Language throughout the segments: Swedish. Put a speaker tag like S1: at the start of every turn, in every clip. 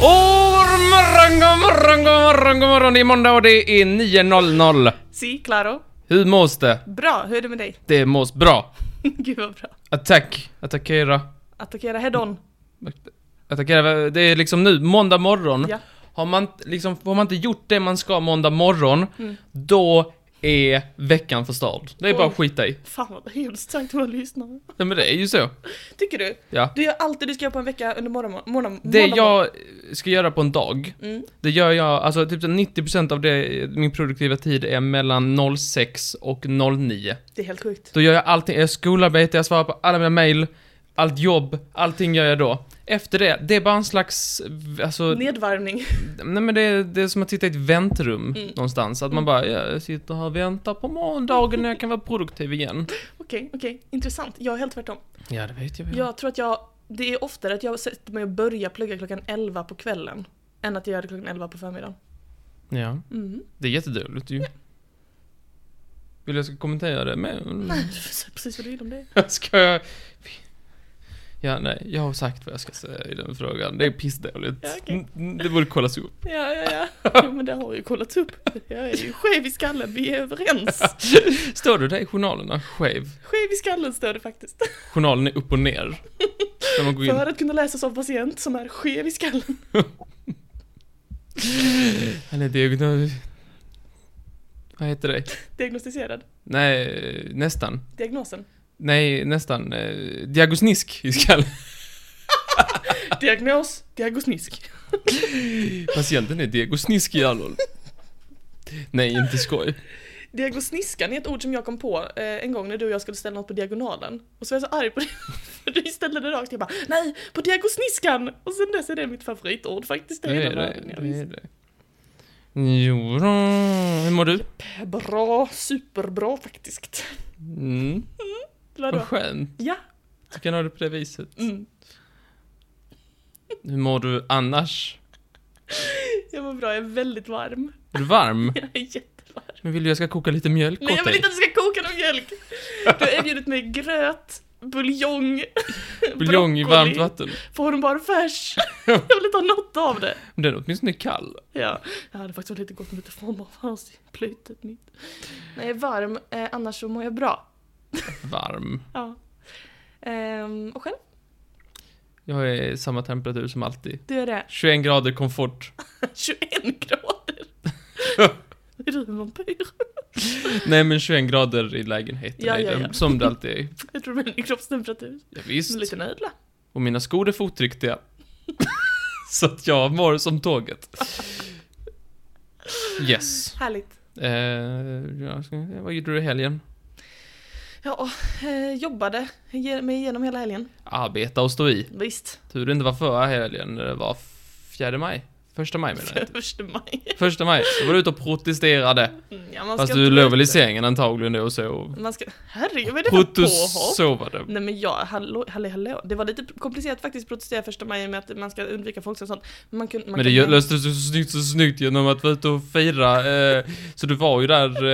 S1: Oh, morgon, god morgon, god morgon, god morgon. Det är måndag och det är 9.00.
S2: Si, Claro.
S1: Hur mås det?
S2: Bra, hur är det med dig?
S1: Det mås bra.
S2: Gud vad bra.
S1: Attack. Attackera.
S2: Attackera head-on.
S1: Attackera. Det är liksom nu, måndag morgon.
S2: Ja.
S1: Har, man, inte- liksom, har man inte gjort det man ska måndag morgon,
S2: Mm.
S1: då är veckan förstörd. Det är bara att
S2: Oj.
S1: skita i.
S2: Fan vad hemskt sagt till våra lyssnare.
S1: Nej men det är ju så.
S2: Tycker du?
S1: Ja.
S2: Du gör allt det du ska göra på en vecka under morgon... morgon
S1: Det
S2: morgon-
S1: jag ska göra på en dag,
S2: Mm.
S1: det gör jag, alltså typ så 90% av det, min produktiva tid är mellan 06 och 09.
S2: Det är helt sjukt.
S1: Då gör jag allting, jag gör skolarbete, jag svarar på alla mina mail, allt jobb, allting gör jag då. Efter det, det är bara en slags, alltså,
S2: Nedvarvning.
S1: nej men det är, det är som att sitta i ett väntrum
S2: Mm.
S1: någonstans. Att man bara, ja, jag sitter här och väntar på morgondagen när jag kan vara produktiv igen.
S2: Okej, okej. Intressant. Jag är helt tvärtom.
S1: Ja, det vet jag.
S2: Jag tror att jag... Det är oftare att jag sätter mig och börjar plugga klockan 11 på kvällen. Än att jag gör det klockan 11 på förmiddagen.
S1: Ja,
S2: Mm.
S1: det är jättedåligt ju. Vill jag ska kommentera det med?
S2: Nej, du får säga precis vad du vill om det.
S1: Jag Ska jag... Ja, nej, jag har sagt vad jag ska säga i den frågan. Det är pissdåligt.
S2: Ja, okej.
S1: Mm, Det borde kollas upp.
S2: Ja, ja, ja. Jo, men det har vi ju kollat upp. Jag är ju skev i skallen, vi är överens.
S1: Står du där i journalerna skev?
S2: Skev i skallen står det faktiskt.
S1: Journalen är upp och ner. När man går in.
S2: För att kunna läsas av patient som är skev i skallen.
S1: Eller diagnos... Vad heter det?
S2: Diagnostiserad.
S1: Nej, nästan.
S2: Diagnosen.
S1: Nej, nästan. Eh, Diagnosnisk i skallen.
S2: Diagnos. Diagnosnisk.
S1: Patienten är diagnosnisk i hjärnan. Nej, inte skoj.
S2: Diagnosniskan är ett ord som jag kom på eh, en gång när du och jag skulle ställa något på diagonalen. Och så var jag så arg på dig. För du ställde det rakt. Jag bara nej, på diagnosniskan! Och sen dess är det mitt favoritord faktiskt.
S1: Det är
S2: hela
S1: det.
S2: världen, jag
S1: det, är
S2: visst.
S1: det. Jo, då. hur mår du?
S2: Bra, superbra faktiskt.
S1: Mm.
S2: Vadå?
S1: Vad skönt.
S2: Ja.
S1: Du kan ha det på det viset.
S2: Mm.
S1: Hur mår du annars?
S2: Jag mår bra, jag är väldigt varm.
S1: Är du varm?
S2: Jag är jättevarm.
S1: Men vill du jag ska koka lite mjölk
S2: Nej, jag
S1: åt
S2: vill
S1: dig?
S2: inte att du ska koka någon mjölk! Du har erbjudit mig gröt, buljong,
S1: Buljong i
S2: broccoli,
S1: varmt vatten.
S2: formbar färs. Jag vill inte ha något av det.
S1: Men den är åtminstone kall.
S2: Ja, jag hade faktiskt varit lite gott med lite formbar färs i plöjtet mitt. Nej, jag är varm, eh, annars så mår jag bra.
S1: Varm.
S2: Ja. Ehm, och själv,
S1: Jag är samma temperatur som alltid.
S2: du är det.
S1: 21 grader komfort.
S2: 21 grader! Är du en vampyr?
S1: Nej men 21 grader i lägenheten.
S2: Ja,
S1: är
S2: ja,
S1: den,
S2: ja.
S1: Som det alltid är.
S2: Jag tror det är en kroppstemperatur.
S1: Ja,
S2: Som en
S1: visst.
S2: liten ödla.
S1: Och mina skor är fotriktiga. Så att jag mår som tåget. Yes.
S2: Härligt.
S1: Eh, ja, ska vi se. vad gjorde du i helgen?
S2: Ja, eh, jobbade ge- mig igenom hela helgen.
S1: Arbeta och stå i.
S2: Visst.
S1: Tur det inte var förra helgen, det var fjärde maj. Första maj menar jag.
S2: Första maj.
S1: Första maj, då var du ute och protesterade.
S2: Mm, Ja, man
S1: Fast
S2: ska
S1: du
S2: inte
S1: låg
S2: vara
S1: väl i
S2: ute.
S1: sängen antagligen då och så.
S2: Man ska... Herregud, vad är det för påhopp?
S1: Protosovade.
S2: Nej men jag, hallå, hallå, hallå. Det var lite komplicerat faktiskt att protestera första maj med att man ska undvika folk och sånt. Men man kunde... Man
S1: Men det
S2: kunde-
S1: gö- löstes så snyggt, så snyggt genom att vara ute och fira. Eh, så du var ju där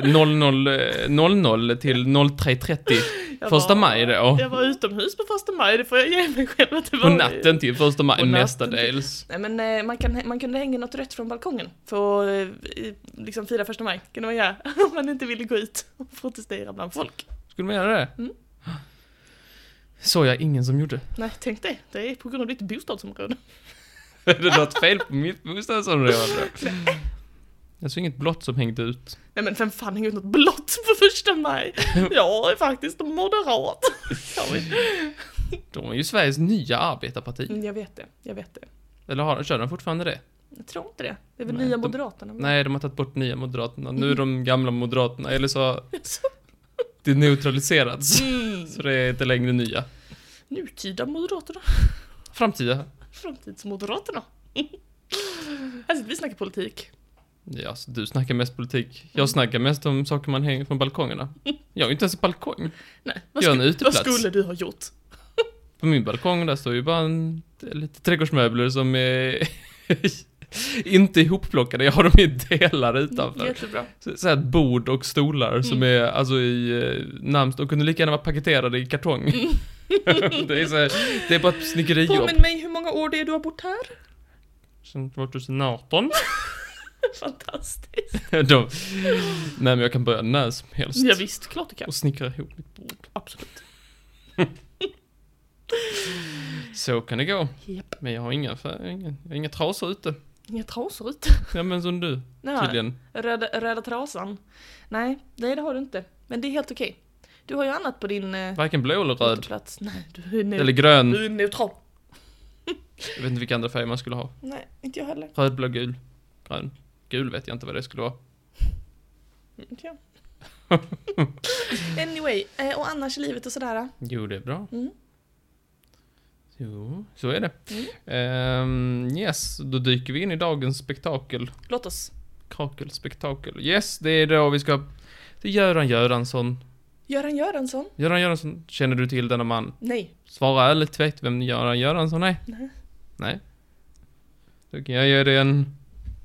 S1: eh, 00, eh, 00 till 03.30
S2: Jag
S1: första
S2: var-
S1: maj då.
S2: Jag var utomhus på första maj, det får jag ge mig själv att det var.
S1: På natten till första maj
S2: På natten
S1: mestadels.
S2: Nej men eh, man, kan, man kunde hänga något rött från balkongen för att eh, i- liksom fira första maj. Kunde man göra. Om man inte ville gå ut och protestera bland folk.
S1: Skulle man göra det?
S2: Mm.
S1: Såg jag ingen som gjorde.
S2: Nej, tänk det. Det är på grund av ditt bostadsområde.
S1: Är det något fel på mitt bostadsområde? Jag såg inget blått som hängde ut.
S2: Nej men vem fan hänger ut något blått på första maj? Jag är faktiskt moderat. Jag vet.
S1: De är ju Sveriges nya arbetarparti.
S2: Mm, Jag vet det, jag vet det.
S1: Eller har, kör de fortfarande det?
S2: Jag tror inte det. Det är väl
S1: Nej,
S2: Nya
S1: de-
S2: Moderaterna? va?
S1: Nej, de har tagit bort nya Moderaterna. Nu är
S2: Mm.
S1: de gamla Moderaterna. Eller så har det neutraliserats.
S2: Mm.
S1: Så det är inte längre nya.
S2: Nutida Moderaterna?
S1: Framtida.
S2: Framtidsmoderaterna? alltså vi snackar politik.
S1: Ja, så du snackar mest politik. Jag snackar mest om saker man hänger från balkongerna. Jag har ju inte ens en balkong.
S2: Nej,
S1: Jag
S2: vad,
S1: har en
S2: sku- vad
S1: uteplats.
S2: skulle du ha gjort?
S1: På min balkong där står ju bara en, lite trädgårdsmöbler som är inte ihopplockade. Jag har dem i delar utanför.
S2: Jättebra.
S1: Så- så här bord och stolar som är alltså i eh, namnst och kunde lika gärna vara paketerade i kartong. det, är så här, det är bara ett snickerijobb.
S2: Påminn mig hur många år det är du har bott här.
S1: sedan 2018.
S2: Fantastiskt.
S1: De, nej men jag kan börja när som helst.
S2: Ja, visst, klart du kan.
S1: Och snickra ihop mitt bord.
S2: Absolut.
S1: Så kan det gå.
S2: Japp.
S1: Men jag har inga, affär- inga, jag har inga trasor ute.
S2: Inga trasor ute.
S1: Ja men som du,
S2: Nej,
S1: tydligen.
S2: röda, röda trasan. Nej, nej det har du inte. Men det är helt okej. Du har ju annat på din... Eh,
S1: Varken blå eller röd.
S2: Plats. Nej, du är, ne-
S1: Eller grön.
S2: du är neutral.
S1: Jag vet inte vilka andra färger man skulle ha.
S2: Nej, inte jag heller.
S1: Röd, blå, gul. Grön. Gul vet jag inte vad det skulle vara.
S2: Inte jag. anyway, eh, och annars i livet och sådär.
S1: Jo, det är bra.
S2: Mm.
S1: Jo, så är det. Ehm, yes, då dyker vi in i dagens spektakel.
S2: Låt oss.
S1: Kakelspektakel. Yes, det är då vi ska... Det är Göran Göransson.
S2: Göran Göransson?
S1: Göran Göransson, känner du till denna man?
S2: Nej.
S1: Svara ärligt tvekt vem Göran Göransson är.
S2: Nej.
S1: Nej. Då kan jag ge dig en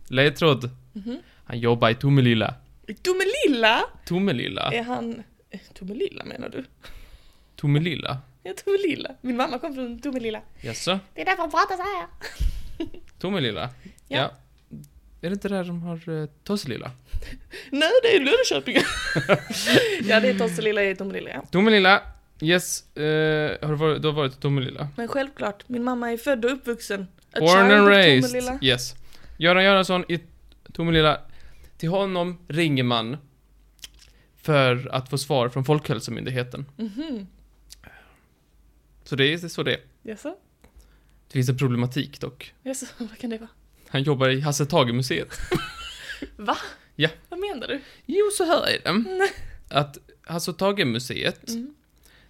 S1: ledtråd.
S2: Mhm.
S1: Han jobbar i Tomelilla.
S2: Tomelilla?
S1: Tomelilla?
S2: Är han... eh, Tomelilla menar du?
S1: Tomelilla?
S2: Ja, Tomelilla. Min mamma kom från Tomelilla.
S1: Jaså?
S2: Det är därför han pratar så här.
S1: Tomelilla?
S2: Ja.
S1: Är det inte där de har uh, Tosselilla?
S2: Nej, det är Löddeköping. ja, det är Tosselilla i Tomelilla, ja.
S1: Tomelilla. Yes. eh, har du, varit, du har varit i Tomelilla.
S2: Men självklart, min mamma är född och uppvuxen. A
S1: Born
S2: child
S1: and
S2: of
S1: raised.
S2: Tomelilla.
S1: Yes. Göran Göransson i Tomelilla. Till honom ringer man för att få svar från Folkhälsomyndigheten.
S2: Mhm.
S1: Så det är det är så det är.
S2: Jaså?
S1: Det finns en problematik dock.
S2: Jaså, vad kan det vara?
S1: Han jobbar i Hasse Tage-museet.
S2: Va?
S1: Ja.
S2: Vad menar du?
S1: Jo, så här är det. Mm. Att Hasse Tage-museet,
S2: Mm.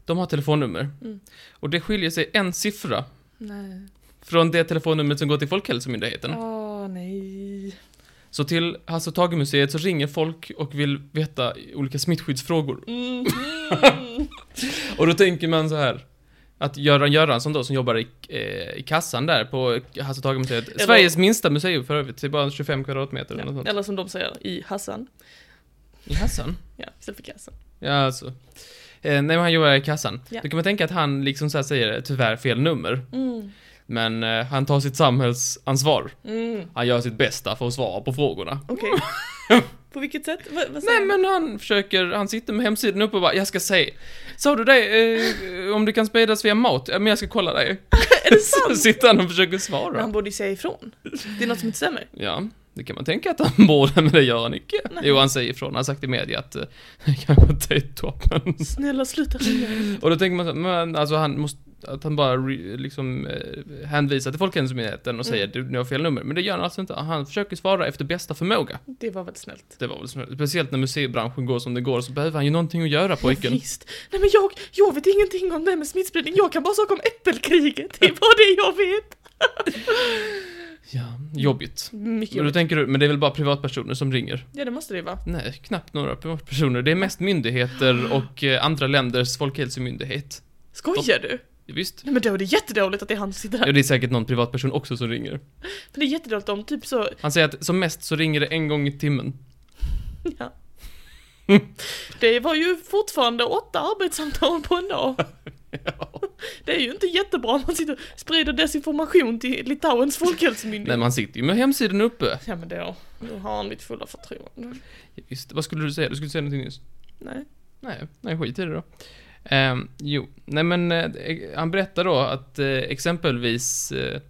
S1: de har telefonnummer.
S2: Mm.
S1: Och det skiljer sig en siffra
S2: Nej.
S1: från det telefonnumret som går till Folkhälsomyndigheten.
S2: Åh, nej.
S1: Så till Hasse och Tage-museet så ringer folk och vill veta olika smittskyddsfrågor.
S2: Mhm.
S1: Och då tänker man så här att Göran Göransson då, som jobbar i, eh, i kassan där på Hasse och Tage-museet,
S2: Eller-
S1: Sveriges minsta museum för övrigt, det är bara 25 kvadratmeter eller något
S2: ja.
S1: sånt.
S2: Eller som de säger i Hassan.
S1: I kassan?
S2: Ja, istället för kassan.
S1: Ja, alltså. Eh, nej, men han jobbar i kassan.
S2: Ja.
S1: Då kan man tänka att han liksom så här säger tyvärr fel nummer,
S2: Mm.
S1: men eh, han tar sitt samhällsansvar.
S2: Mm.
S1: Han gör sitt bästa för att svara på frågorna.
S2: Okej. På vilket sätt? Va, vad säger
S1: Nej men han försöker, han sitter med hemsidan uppe och bara, jag ska se. Sa du det, eh, om det kan spridas via mat? Ja men jag ska kolla det.
S2: han? Är det
S1: Så
S2: sant?
S1: sitter han och försöker
S2: Men han
S1: svara.
S2: borde ju säga ifrån. Det är något som inte stämmer.
S1: Ja, det kan man tänka att han borde, men det gör han icke.
S2: Nej.
S1: Jo, han säger ifrån, han har sagt i media att eh, kanske inte är typ toppen.
S2: Snälla sluta ringa.
S1: Och då tänker man så, här, men alltså han måste, att han bara re, liksom eh, hänvisar till Folkhälsomyndigheten och säger du, ni har fel nummer. Men det gör han alltså inte, han försöker svara efter bästa förmåga.
S2: Det var väl snällt.
S1: Det var väl snö- speciellt när museibranschen går som det går så behöver han ju någonting att göra pojken.
S2: Visst. Nej men jag, jag vet ingenting om det här med smittspridning. Jag kan bara saker om äppelkriget. Det är bara det jag vet.
S1: Ja, jobbigt.
S2: Mycket
S1: Men då
S2: jobbigt.
S1: tänker du, men det är väl bara privatpersoner som ringer?
S2: Ja det måste det ju vara.
S1: Nej, knappt några privatpersoner. Det är mest myndigheter och eh, andra länders folkhälsomyndighet.
S2: Skojar du?
S1: Visst.
S2: Nej men då är det jättedåligt att det är han som sitter här.
S1: Ja, det är säkert någon privatperson också som ringer.
S2: För det är jättedåligt om typ så,
S1: Han säger att som mest så ringer det en gång i timmen.
S2: ja. Det var ju fortfarande åtta arbetssamtal på en dag. Det är ju inte jättebra om man sitter och sprider desinformation till Litauens folkhälsomyndighet.
S1: Nej, man sitter ju med hemsidan uppe.
S2: Ja men då, då har han mitt fulla förtroende.
S1: Ja, Visst, vad skulle du säga? Du skulle säga någonting nyss.
S2: Nej.
S1: Nej, nej skit i det då. Ehm, jo, nej men eh, han berättar då att eh, exempelvis eh,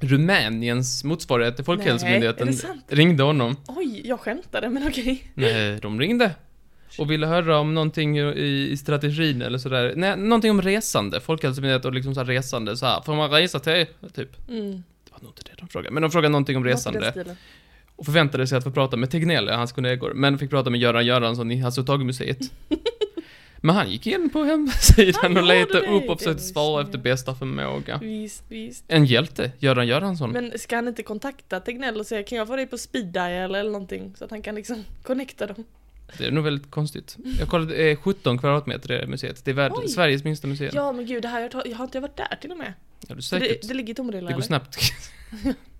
S1: Rumäniens motsvarighet till Folkhälsomyndigheten
S2: Nej, är det sant?
S1: ringde honom
S2: Oj, jag skämtade men okej.
S1: Nej, de ringde. Och ville höra om någonting i, i strategin eller sådär. Nej, någonting om resande. Folkhälsomyndigheten och liksom så här resande så här. Får man resa till? Typ.
S2: Mm.
S1: Det var nog inte det de frågade. Men de frågade någonting om
S2: Något i den
S1: resande.
S2: stilen.
S1: Och förväntade sig att få prata med Tegnell, hans kollegor. Men fick prata med Göran Göransson i Hasse och Tage-museet. Men han gick in på
S2: Han
S1: hemsidan och
S2: gjorde
S1: letade
S2: det.
S1: upp
S2: Det
S1: och försökte
S2: var ju
S1: svara
S2: snällt.
S1: efter bästa förmåga.
S2: Visst, visst.
S1: En hjälte, Göran Göransson.
S2: Men ska han inte kontakta Tegnell och säga kan jag få dig på speed dial eller någonting? Så att han kan liksom connecta dem.
S1: Det är nog väldigt konstigt. Jag kollade, eh, 17 kvadratmeter är det museet. Det är värld,
S2: Oj.
S1: Sveriges minsta museum. Ja,
S2: Ja men gud, det här, jag, tar, jag har inte varit där till och med.
S1: det är
S2: Så
S1: säkert.
S2: Det, det ligger i Tomelilla
S1: det går
S2: eller?
S1: snabbt.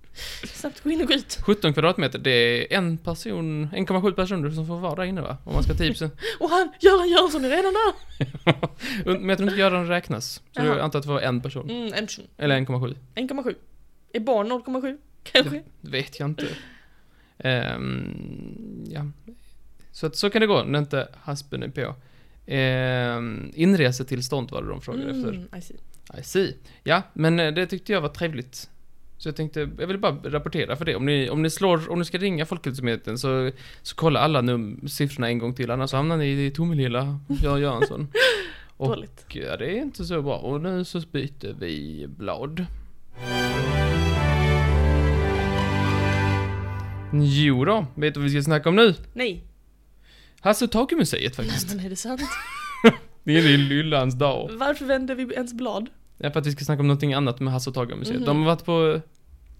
S2: Snabbt gå in och gå ut.
S1: 17 kvadratmeter, det är en person, 1,7 personer som får vara där inne va? Om man ska typ tipsa.
S2: Och han, Göran Göransson är redan där!
S1: Men jag tror inte Göran räknas. Så
S2: Jaha.
S1: jag antar att det var en person.
S2: Mm, en person.
S1: Eller 1,7.
S2: 1,7. Är barn 0,7? Kanske.
S1: Det vet jag inte. Ehm, ja. Så att så kan det gå när inte haspen är på. Ehm, inresetillstånd var det de frågade
S2: Mm.
S1: efter.
S2: I see.
S1: I see. Ja, men eh, det tyckte jag var trevligt. Så jag tänkte, jag vill bara rapportera för det. Om ni, om ni slår, om ni ska ringa Folkhälsomyndigheten så, så kolla alla num- siffrorna en gång till, annars hamnar ni i Tomelilla, Göran Göransson. Och-
S2: Dåligt.
S1: Och, ja, det är inte så bra. Och nu så byter vi blad. Jo då, vet du vad vi ska snacka om nu?
S2: Nej.
S1: Hasse och Tage-museet faktiskt.
S2: Men är det sant?
S1: Det är ju Lyllans dag.
S2: Varför vände vi ens blad?
S1: Ja, för att vi ska snacka om någonting annat med Hasse och Tage-museet.
S2: Mhm.
S1: De har varit på,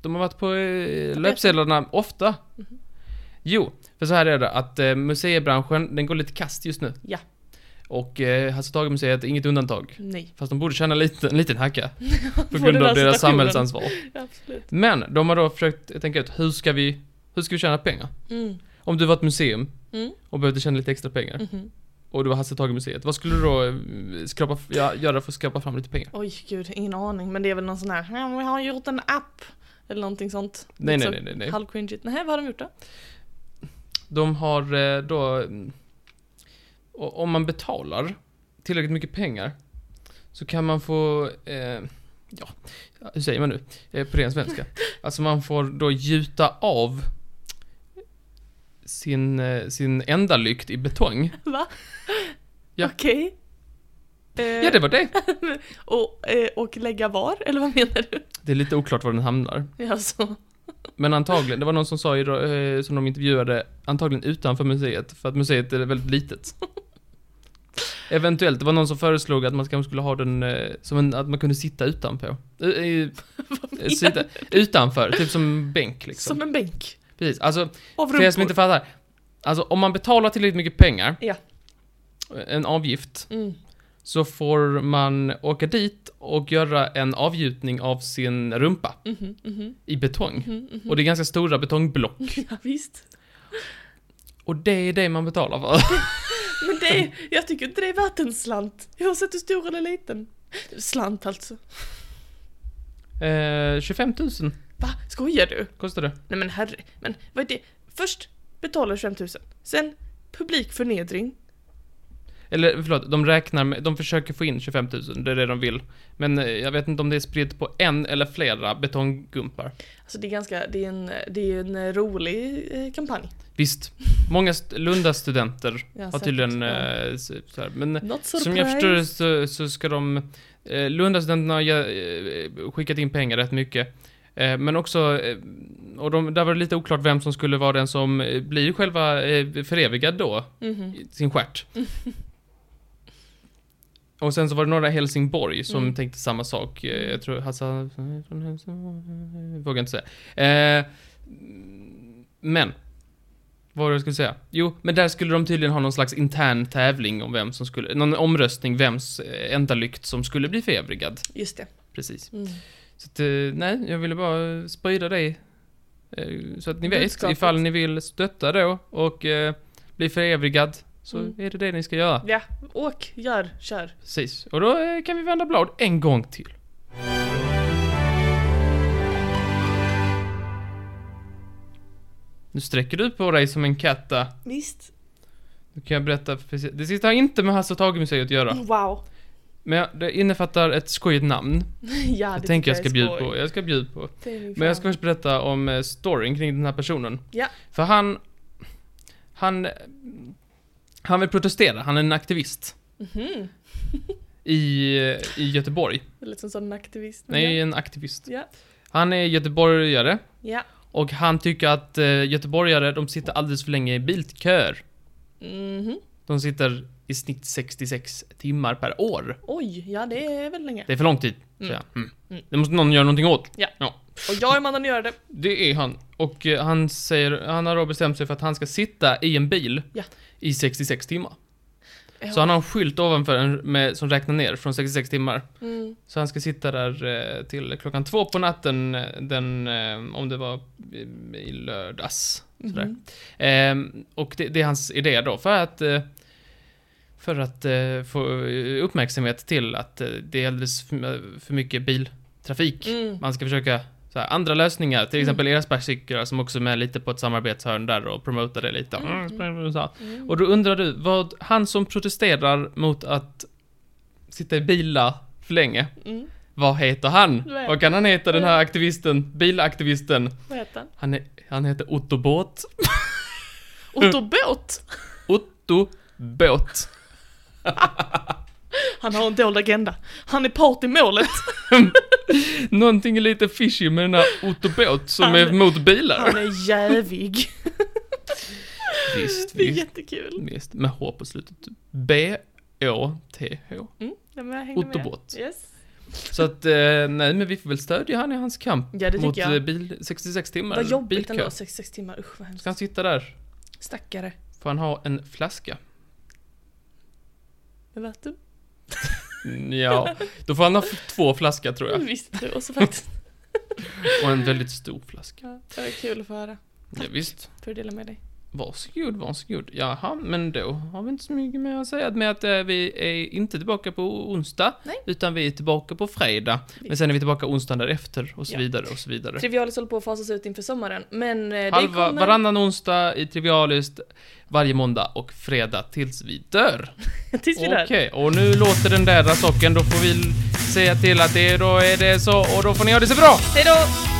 S1: de har varit på eh, löpsedlarna ofta.
S2: Mhm.
S1: Jo, för så här är det att eh, museibranschen, den går lite kast just nu.
S2: Ja.
S1: Och eh, Hasse och Tage-museet är inget undantag.
S2: Nej.
S1: Fast de borde tjäna lite, en liten hacka.
S2: På
S1: På
S2: den
S1: grund av
S2: här
S1: deras
S2: situationen.
S1: samhällsansvar.
S2: Absolut.
S1: Men de har då försökt tänka ut, hur ska vi, hur ska vi tjäna pengar?
S2: Mm.
S1: Om du var ett museum
S2: Mm.
S1: och behövde tjäna lite extra pengar
S2: Mhm.
S1: och du var Hasse och Tage-museet, vad skulle du då eh, skrapa, ja, göra för att skrapa fram lite pengar?
S2: Oj gud, ingen aning. Men det är väl någon sån här, "Ja, vi har gjort en app. Eller någonting sånt.
S1: Nej, nej,
S2: Liksom
S1: nej, nej, nej.
S2: Halvcringigt. Nej, vad har de gjort då?
S1: De har eh, då... mm, o- Om man betalar tillräckligt mycket pengar så kan man få... Eh, ja, hur säger man nu? Eh, på ren svenska. Alltså man får då gjuta av sin, eh, sin enda lykt i betong.
S2: Va?
S1: Ja.
S2: Okej. Eh,
S1: Ja, det var det.
S2: och, eh, och lägga var, eller vad menar du?
S1: Det är lite oklart var den hamnar.
S2: Ja, så.
S1: Men antagligen, det var någon som sa i, eh, som de intervjuade, antagligen utanför museet, för att museet är väldigt litet. Eventuellt, det var någon som föreslog att man kanske skulle ha den eh, som en, att man kunde sitta utanpå. Eh, eh, sitta utanför, typ som bänk liksom.
S2: Som en bänk.
S1: Precis, alltså
S2: Av
S1: för er som
S2: rumpor.
S1: inte fattar. Alltså om man betalar tillräckligt mycket pengar,
S2: Ja.
S1: en avgift,
S2: Mm.
S1: så får man åka dit och göra en avgjutning av sin rumpa
S2: Mhm, mhm,
S1: i betong.
S2: mhm, mhm.
S1: Och det är ganska stora betongblock.
S2: Ja, visst.
S1: Och det är det man betalar för.
S2: Men det är, jag tycker inte det är värt en slant. Oavsett hur stor eller liten. Slant alltså.
S1: Eh, 25 000
S2: Va? Skojar du?
S1: kostar det.
S2: Nej men herre, men vad är det? Först betalar 25 000, sen publikförnedring.
S1: Eller förlåt, de räknar med, de försöker få in 25 000, det är det de vill. Men eh, jag vet inte om det är spritt på en eller flera betonggumpar.
S2: Alltså det är ganska, det är en, det är en eh, rolig eh, kampanj.
S1: Visst, många st- Lundastudenter
S2: Ja,
S1: har
S2: säkert.
S1: tydligen
S2: Ja.
S1: eh, så, så här. Men
S2: Not
S1: som jag förstår det så, så ska de, eh, Lundastudenterna har ge- eh, skickat in pengar rätt mycket. Eh, men också, eh, och de, där var det lite oklart vem som skulle vara den som eh, blir själva eh, förevigad då.
S2: Mhm.
S1: i sin stjärt. Och sen så var det några i Helsingborg som
S2: Mm.
S1: tänkte samma sak. Eh, Jag tror Hassan från Helsingborg, jag vågar inte säga. Eh, men, vad var det jag skulle säga? Jo, men där skulle de tydligen ha någon slags intern tävling om vem som skulle, någon omröstning vems eh, enda lykt som skulle bli förevigad.
S2: Just det.
S1: Precis.
S2: Mm.
S1: Så att, eh, nej, jag ville bara eh, sprida dig. eh, Så att ni vet,
S2: Budskapet.
S1: ifall ni vill stötta då och eh, bli förevigad, så
S2: Mm.
S1: är det det ni ska göra.
S2: Ja, åk, gör, kör.
S1: Precis. Och då eh, kan vi vända blad en gång till. Nu sträcker du på dig som en katta.
S2: Visst.
S1: Nu kan jag berätta precis. Det sista har inte med Hasse och Tage-museet att göra.
S2: Wow.
S1: Men jag- det innefattar ett skojigt namn.
S2: ja, det
S1: Jag tänker jag ska
S2: tycker är
S1: bjuda
S2: skoj.
S1: på. Jag ska bjuda på.
S2: Det är min
S1: Men jag ska
S2: favorit.
S1: först berätta om eh, storyn kring den här personen.
S2: Ja.
S1: För han... Han... Han vill protestera, han är en aktivist.
S2: Mhm.
S1: I, eh, i Göteborg.
S2: Det lät som en sån aktivist. men
S1: Nej,
S2: ja.
S1: en aktivist.
S2: Ja.
S1: Han är göteborgare.
S2: Ja.
S1: Och han tycker att eh, göteborgare, de sitter alldeles för länge i bilköer.
S2: Mhm.
S1: De sitter i snitt 66 timmar per år.
S2: Oj, ja det är väl länge.
S1: Det är för lång tid, säger
S2: Mm.
S1: han. Mm.
S2: Mm.
S1: Det måste någon göra någonting åt.
S2: Och jag är mannen att göra det.
S1: Det är han. Och eh, han säger, han har då bestämt sig för att han ska sitta i en bil
S2: Ja.
S1: i 66 timmar.
S2: Ja.
S1: Så han har en skylt ovanför en med, som räknar ner från 66 timmar.
S2: Mm.
S1: Så han ska sitta där eh, till klockan två på natten eh, den, eh, om det var eh, i lördags. Sådär.
S2: Mhm.
S1: Ehm, och det, det är hans idé då, för att eh, för att eh, få eh, uppmärksamhet till att eh, det är alldeles för, för mycket biltrafik.
S2: Mm.
S1: Man ska försöka så här, andra lösningar, till exempel era spärrcirklar som också är med lite på ett samarbetshörn där och promotar det lite.
S2: Mm,
S1: Så här. Och då undrar du, vad han som protesterar mot att sitta i bilar för länge,
S2: Mm.
S1: vad heter han?
S2: Nej.
S1: Vad kan han heta den här aktivisten, bilaktivisten?
S2: Vad heter han?
S1: Han, är, han heter Otto Båt.
S2: Otto Båt!
S1: Otto Båt.
S2: Han har en dold agenda. Han är part i målet.
S1: Någonting är lite fishy med den här Otto Båt som
S2: Han-
S1: är mot bilar.
S2: Han är jävig.
S1: visst,
S2: Det är
S1: visst,
S2: jättekul.
S1: visst. Med H på slutet. B-Å-T-H.
S2: Mm, ja, men jag hänger med.
S1: Otto Båt.
S2: Yes.
S1: Så att, eh, nej men vi får väl stödja han i hans kamp
S2: Ja, det tycker
S1: mot
S2: jag.
S1: eh, bil 66 timmar.
S2: Vad jobbigt
S1: bilkö.
S2: ändå, 66 timmar. Usch vad hemskt.
S1: Ska han sitta där?
S2: Stackare.
S1: Får han ha en flaska?
S2: Det lät du.
S1: Mm, Ja, då får han ha f- två flaskor tror jag.
S2: Visste du också faktiskt.
S1: Och en väldigt stor flaska.
S2: Ja, det var kul att få höra.
S1: Ja, visst.
S2: För att dela med dig.
S1: Varsågod, varsågod. Jaha, men då har vi inte så mycket mer att säga. Med att eh, vi är inte tillbaka på onsdag.
S2: Nej.
S1: Utan vi är tillbaka på fredag. Men sen är vi tillbaka onsdagen därefter och så
S2: Ja.
S1: vidare och så vidare.
S2: Trivialis håller på att fasas ut inför sommaren, men eh, det
S1: Halva,
S2: kommer...
S1: Varannan onsdag i Trivialist, varje måndag och fredag tills vi dör.
S2: Tills vi dör.
S1: Okej, och nu låter den där socken, då får vi säga till att det då är det så och då får ni ha det så bra!
S2: Hej då!